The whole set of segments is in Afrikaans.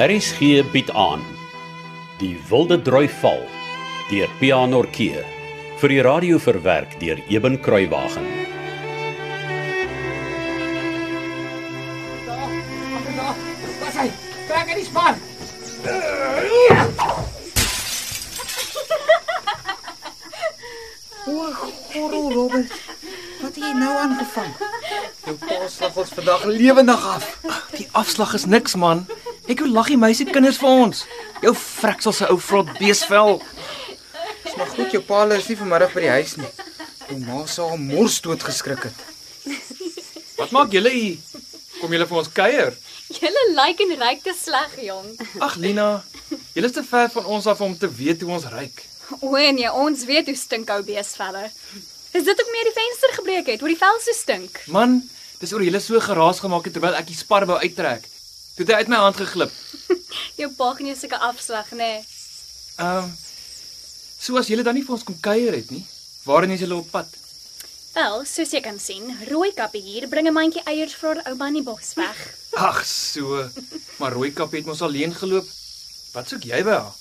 RSG bied aan Die Wilde Droi Val deur Pianorkee vir die radio verwerk deur Eben Kruiwagen. Was hy? Trek in die span. Korrel Robert. Wat het jy nou aangevang? Jou pa slag ons vandag lewendig af. Die afslag is niks man. Ek hoe lag die meisie kinders vir ons. Jou freksel se ou vrot beesvel. Dis maar goed jou pa is nie vanmiddag by die huis nie. Jou ma sal mors dood geskrik het. Wat maak julle hier? Kom julle vir ons kuier? Julle lyk en ryk te sleg, jong. Ag Lina, julle is te ver van ons af om te weet hoe ons ryk. O nee, ons weet hoe stink ou beesvelle. Is dit ook meer die venster gebreek het, oor die vel so stink? Man, dis oor julle so geraas gemaak het terwyl ek die spar wou uittrek. Toe het hy uit my hand geglip. Jou pa gee seker afslag, nê? Nee. Ehm um, So as julle dan nie vir ons kom kuier het nie, waarheen is julle op pad? Wel, soos jy kan sien, rooi kappie hier bring 'n mandjie eiers vir haar ouma in die bos weg. Ag so, maar Rooikap het mos alleen geloop. Wat soek jy by haar?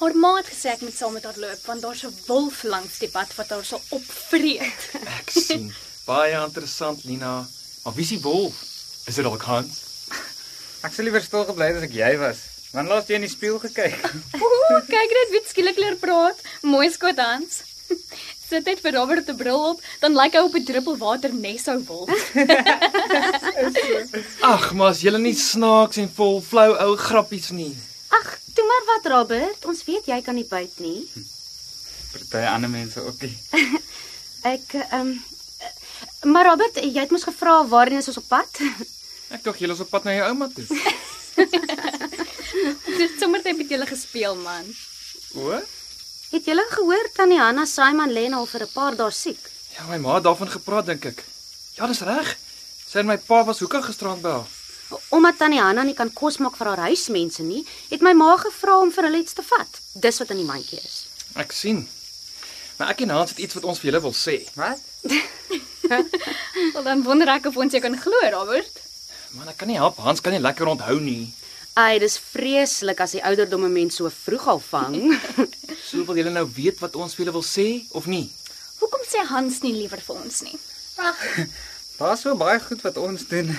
Haar ma het gesê ek moet saam met haar loop want daar's 'n wolf langs die pad wat haar sal opvreet. Ek sien. Baie interessant Lina. Maar wie is die wolf? Is dit dalk Hans? Ek sou liewer stil gebly het as ek jy was. Want laas jy in die spieël gekyk. Ooh, kyk net wie skielik leer praat. Mooi skoot Hans. Sit net vir Robert te bril op, dan lyk hy op 'n druppel water neshou wolf. Ag, maar as julle nie snaaks en vol flou ou grappies nie. Ag, toe maar wat Robert, ons weet jy kan nie byt nie. Party ander mense ook nie. Ek ehm maar Robert, jy het mos gevra waarheen is ons op pad? Ek dink julle is op pad na jou ouma toe. Dit sommer net met julle gespeel man. O? Het jy gehoor tannie Hanna Simon lê nou vir 'n paar dae siek? Ja, my ma het daarvan gepraat dink ek. Ja, dis reg. Sy en my pa was hoekom gisterand by haar. Omdat tannie Hanna nie kan kos maak vir haar huismense nie, het my ma gevra om vir hulle iets te vat. Dis wat in die mandjie is. Ek sien. Maar ek en Hans het iets wat ons vir julle wil sê. Wat? Wel dan wonder ek of ons jou kan glo, Robert. Man, ek kan nie help Hans kan nie lekker onthou nie. Ai, dis vreeslik as die ouderdomme mense so vroeg al vang. So wil julle nou weet wat ons vir julle wil sê of nie? Hoekom sê Hans nie liewer vir ons nie? Daar's so baie goed wat ons doen.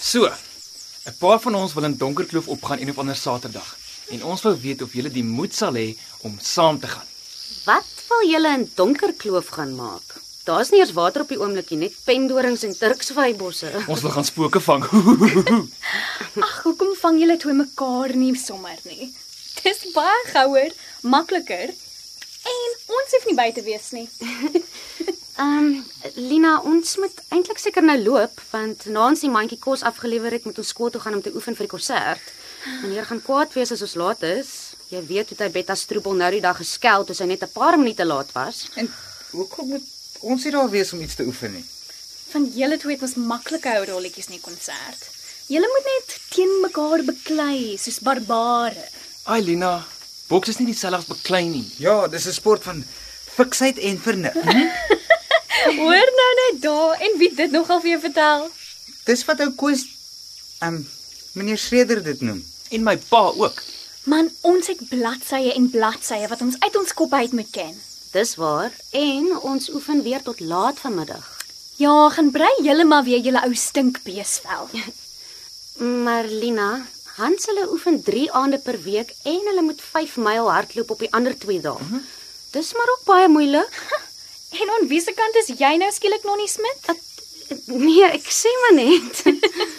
So, 'n paar van ons wil in Donkerkloof opgaan een of ander Saterdag en ons wou weet of julle die moed sal hê om saam te gaan. wat wil julle in donker kloof gaan maak? Daar's nie eens water op die oomblikie, net pendorings en turksvybosse. Ons wil gaan spooke vang. Ag, hoekom vang julle toe mekaar nie sommer nie? Dis baie gouer, makliker en ons hoef nie by te wees nie. Ehm Lina, ons moet eintlik seker nou loop want na ons die mandjie kos afgelewer het, moet ons skool toe gaan om te oefen vir die konsert. Meneer gaan kwaad wees as ons laat is. Jy weet hoe hy Betta stroebel nou die dag geskel toe sy net 'n paar minute laat was. En hoekom moet ons hier daar wees om iets te oefen nie? Van julle twee het ons maklike ou rolletjies nie konsert. Julle moet net teen mekaar beklei soos barbare. Ai Lina, boks is nie dieselfde as beklei nie. Ja, dis 'n sport van fiksheid en vernuf. Hoor nou net daar en wie dit nogal vir jou vertel? Dis wat ou Koos ehm um, meneer Schreder dit noem. En my pa ook. Man, ons het bladsye en bladsye wat ons uit ons koppe uit moet ken. Dis waar en ons oefen weer tot laat vanmiddag. Ja, gaan brei julle maar weer julle ou stinkbeesvel. Maar Lina, Hans hulle oefen 3 aande per week en hulle moet 5 myl hardloop op die ander 2 dae. Dis maar ook baie moeilik. En aan wiese kant is jy nou skielik Nonnie Smit? Nee, ek sê maar net.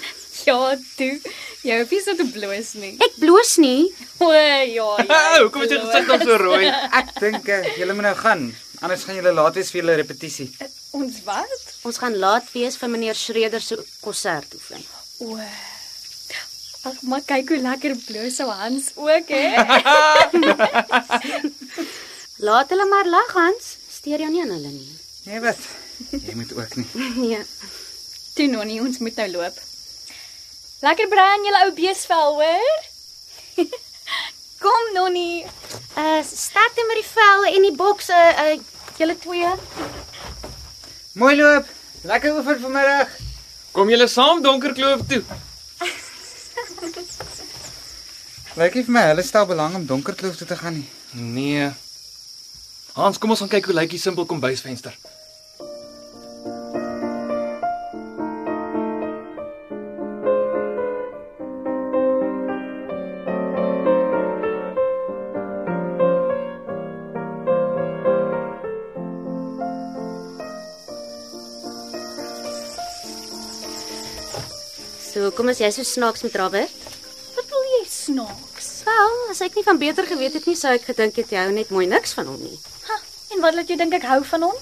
Ja, toe. Jou hoef nie so te bloos nie. Ek bloos nie. O ja. Ou, kom jy gesig dan so rooi. Ek dink eh, julle moet nou gaan, anders gaan julle laat wees vir julle repetisie. Ons wat? Ons gaan laat wees vir meneer Schreder se konsert oefen. O. Ag, maar kyk hoe lekker bloos ou Hans ook hè. Laat hulle maar lag Hans, steur jou nie aan hulle nie. Nee, wat? Jy moet ook nie. Nee. toe Nonnie, ons moet nou loop. Lekker brei aan julle ou beesvel, hoor? Kom Nonnie. Uh sterkte met die vel en die boks uh uh julle twee. Mooi loop. Lekker oefen vanmiddag. Kom julle saam Donkerkloof toe. Lyk nie vir my hulle stel belang om Donkerkloof toe te gaan nie. Nee. Hans, kom ons gaan kyk hoe lyk die simpel kombuisvenster. So, kom as jy so snaaks met Robert. Wat wil jy snaaks? Wel, as ek nie van beter geweet het nie, sou ek gedink het jy hou net mooi niks van hom nie. Ha, en wat laat jou dink ek hou van hom?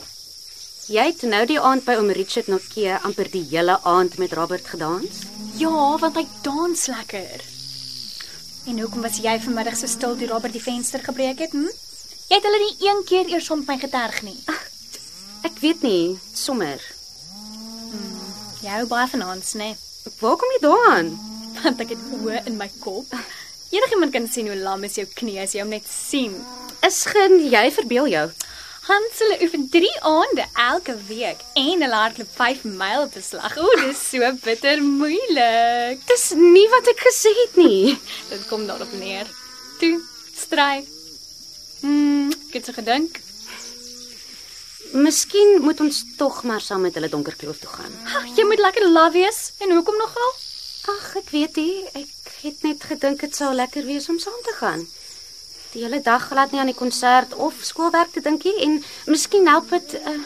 Jy het nou die aand by oom Richard Norkee amper die hele aand met Robert gedans. Ja, want hy dans lekker. En hoekom was jy vanmiddag so stil toe Robert die venster gebreek het? Hm? Jy het hulle nie een keer eers om my geterg nie. Ek weet nie, sommer. Jy hou baie van Hans, né? Nee? Waar kom jy daaraan? Want ek het oë in my kop. Enigiemand kan sien hoe lam is jou knie as jy hom net sien. Is gen jy verbeel jou? Hans hulle oefen 3 aande elke week en hulle hardloop 5 myl op 'n slag. O, dis so bitter moeilik. Dis nie wat ek gesê het nie. Dit kom daarop neer. Toe, stry. Hmm, ek het so gedink. Miskien moet ons tog maar saam met hulle donker kloof toe gaan. Ag, jy moet lekker laf wees. En hoekom nogal? Ag, ek weet nie, ek het net gedink dit sou lekker wees om saam te gaan. Die hele dag glad nie aan die konsert of skoolwerk te dink nie en miskien help dit uh,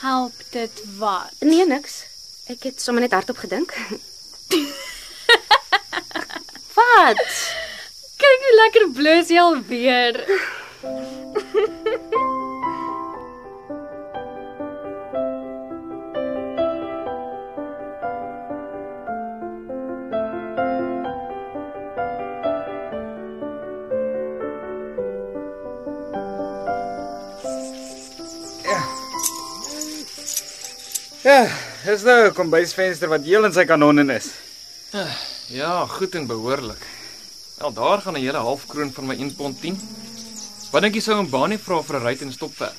Help dit wat? nee niks. Ek het sommer net hardop gedink. Wat? Kyk hoe lekker bloos jy al weer. Ja, dis nou 'n kombuisvenster wat heel in sy kanonnen is. Ja, goed en behoorlik. Wel, daar gaan 'n hele half kroon van my 1 pond 10. Wat dink jy sou 'n baanie vra vir 'n ry en stopverf?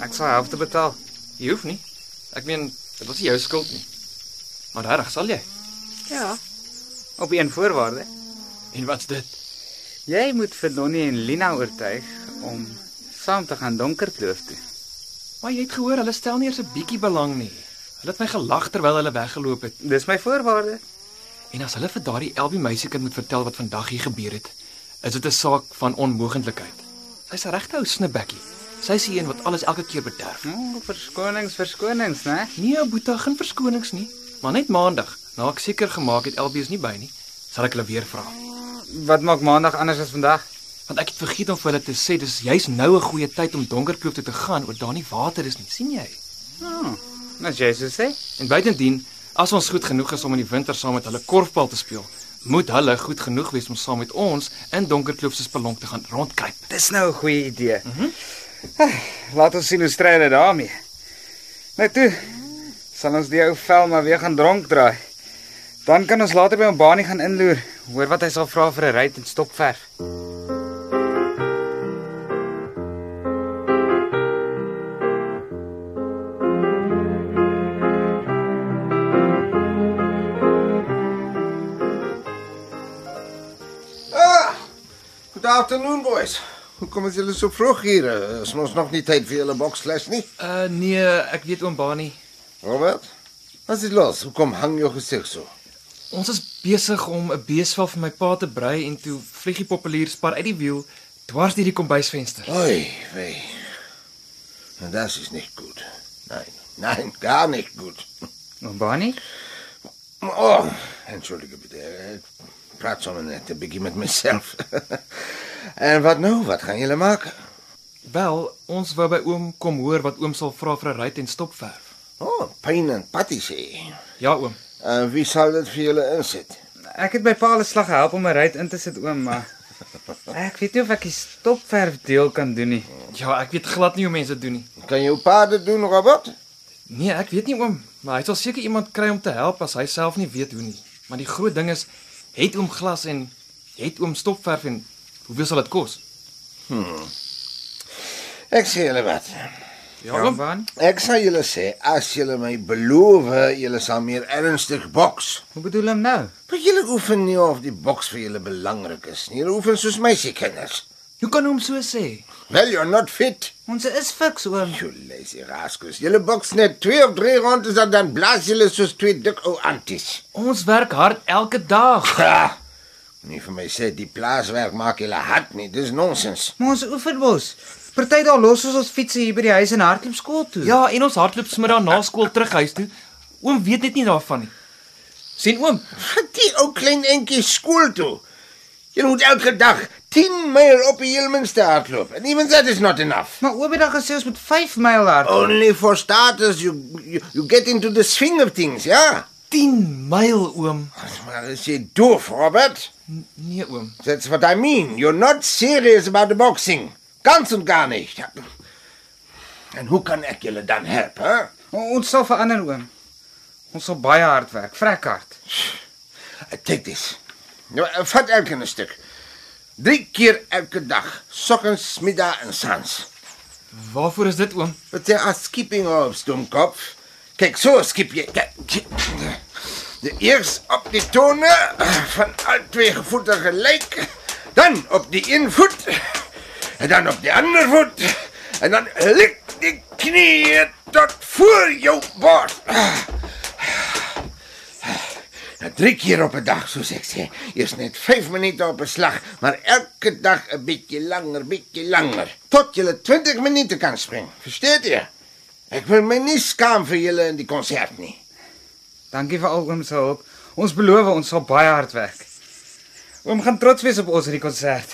Ek sal helfte betaal. Jy hoef nie. Ek meen, dit was nie jou skuld nie. Maar regtig, sal jy? Ja. Op een voorwaarde. En wat's dit? Jy moet vir Donnie en Lina oortuig om saam te gaan Donkerkloof toe. Maar jy het gehoor hulle stel nie eers 'n bietjie belang nie. Hulle het my gelag terwyl hulle weggeloop het. Dis my voorwaarde. En as hulle vir daardie Elbie meisiekind moet vertel wat vandag hier gebeur het, is dit 'n saak van onmoontlikheid. Sy's 'n regte ou snibbekkie. Sy's die een wat alles elke keer bederf. O, verskonings, verskonings, Nou, né? Nee, Boeta, geen verskonings nie, maar net maandag, na ek seker gemaak het Elbie is nie by nie, sal ek hulle weer vra. Wat maak maandag anders as vandag? Want ek het vergeet om vir hulle te sê dis juis nou 'n goeie tyd om Donkerkloof toe te gaan oor daar nie water is nie, sien jy? Oh, nou jy sê sê. En buitendien, as ons goed genoeg is om in die winter saam met hulle korfbal te speel, moet hulle goed genoeg wees om saam met ons in Donkerkloof se spelonk te gaan rondkruip. Dis nou 'n goeie idee. Mm -hmm. Laat ons sien hoe strei hulle daarmee. Nou toe sal ons die ou vel maar weer gaan dronk draai. Dan kan ons later by hom baanie gaan inloer, hoor wat hy sal vra vir 'n ry en stopverf. Good afternoon boys. Hoekom is julle so vroeg hier? Eh, Is ons nog nie tyd vir julle boksles nie? Uh nee, ek weet oom Bani. Robert? Wat is los? Hoekom hang jou gesig so? Ons is besig om 'n beesval vir my pa te brei en toe vliegie populier spar uit die wiel dwars deur die kombuisvenster. Oi, wei. En das Nou, is nicht gut. Nein, nein, gar nicht gut. Oom Baanie? Oh, entschuldige bitte. Ek praat sommer net 'n bietjie met myself. en wat nou? Wat gaan julle maak? Wel, ons wou by oom kom hoor wat oom sal vra vir 'n ry en stopverf. Oh, pyn en patisie. Ja oom. En wie sal dit vir julle insit? Ek het by Paul se slag gehelp om 'n ry in te sit oom, maar ek weet nie of ek die stopverf deel kan doen nie. Ja, ek weet glad nie hoe mense dit doen nie. Kan jou pa dit doen, Robert? Nee, ek weet nie oom, maar hy sal seker iemand kry om te help as hy self nie weet hoe nie. Maar die groot ding is, het oom glas en het oom stopverf en hoeveel sal dit kos? Ek sê julle wat. Ja, man. Ek sal julle sê as julle my beloof, julle sal meer ernstig boks. Hoe bedoel hom nou? Maar julle oefen nie of die boks vir julle belangrik is nie. Julle oefen soos meisiekinders. Hoe kan hom so sê? Well, you're not fit. Ons is fiks oom. You lazy rascals. Julle boks net 2 of 3 rondes en dan blaas julle soos twee dik ou anties. Ons werk hard elke dag. Ha! Nie vir my sê die plaaswerk maak julle hard nie. Dis nonsens. Maar ons oefen mos. Party daar los ons ons fietsse hier by die huis en hardloop skool toe. Ja, en ons hardloop smiddag na skool terug huis toe. Oom weet net nie daarvan nie. sien oom? Vat die ou klein entjie skool toe. Jy moet elke dag 10 myl op die Heelminster hardloop. And even that is not enough. Maar oom het dan gesê ons moet 5 myl Oh. hardloop. Only for starters you you, you get into the swing of things, ja. 10 myl oom. Maar as jy doof, Robert. Nee oom. That's what I mean. You're not serious about the boxing. Ganz und gar nicht. En hoe kan ek julle dan help, hè? O- Ons sal verander oom. Ons sal baie hard werk, vrek hard. Uh, Take this. Nou, uh, Vat elke 'n stuk. 3 keer elke dag, soggens, middag en saans. Waarvoor is dit oom? Wat jy as skipping op stomkop. Kyk, so skip jy. Kyk. De eers op die tone van al twee voete gelyk, dan op die een voet en dan op die ander voet en dan lig die knie tot voor jou bors. Nou, drie keer op 'n dag, soos ek sê. Eers net 5 minute op 'n slag, maar elke dag 'n bietjie langer, bietjie langer, tot jy 20 minute kan spring. Verstaan jy? Ek wil my nie skaam vir julle in die konsert nie. Dankie vir al oom se hulp. Ons beloof ons sal baie hard werk. Oom gaan trots wees op ons hierdie konsert.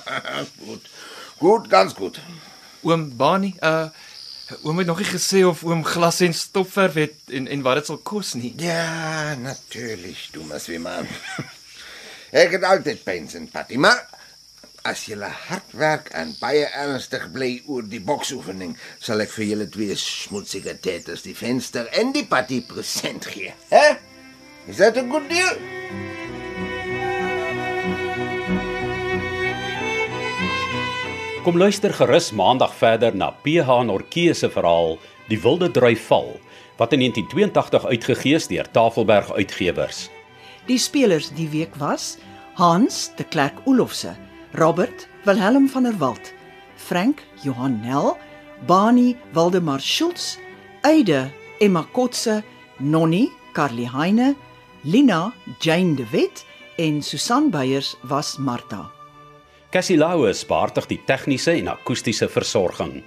goed. Goed, ganz goed. Oom Bani, uh oom het nog nie gesê of oom glas en stopverf het en en wat dit sal kos nie. Ja, natuurlik, dummes wie man. ek het altyd pyn in Patty, maar as julle hard werk en baie ernstig bly oor die boksoefening, sal ek vir julle twee smutsige teters die venster en die Patty present gee. Hè? Is dit 'n goed deal? Kom luister gerus maandag verder na PH Nortjee se verhaal Die Wilde Drui Val wat in 1982 uitgegee is deur Tafelberg Uitgewers. Die spelers die week was Hans de Klerk Olofse, Robert Wilhelm van der Walt, Frank Johan Nel, Bani Waldemar Schultz, Eide Emma Kotse, Nonnie Carly Heine, Lina Jane de Wet en Susan Beyers was Martha. Cassie Lauers beheerdig die tegniese en akoestiese versorging.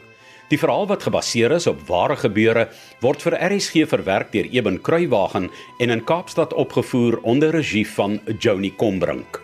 Die verhaal wat gebaseer is op ware gebeure word vir RSG verwerk deur Eben Kruiwagen en in Kaapstad opgevoer onder regie van Joni Combrink.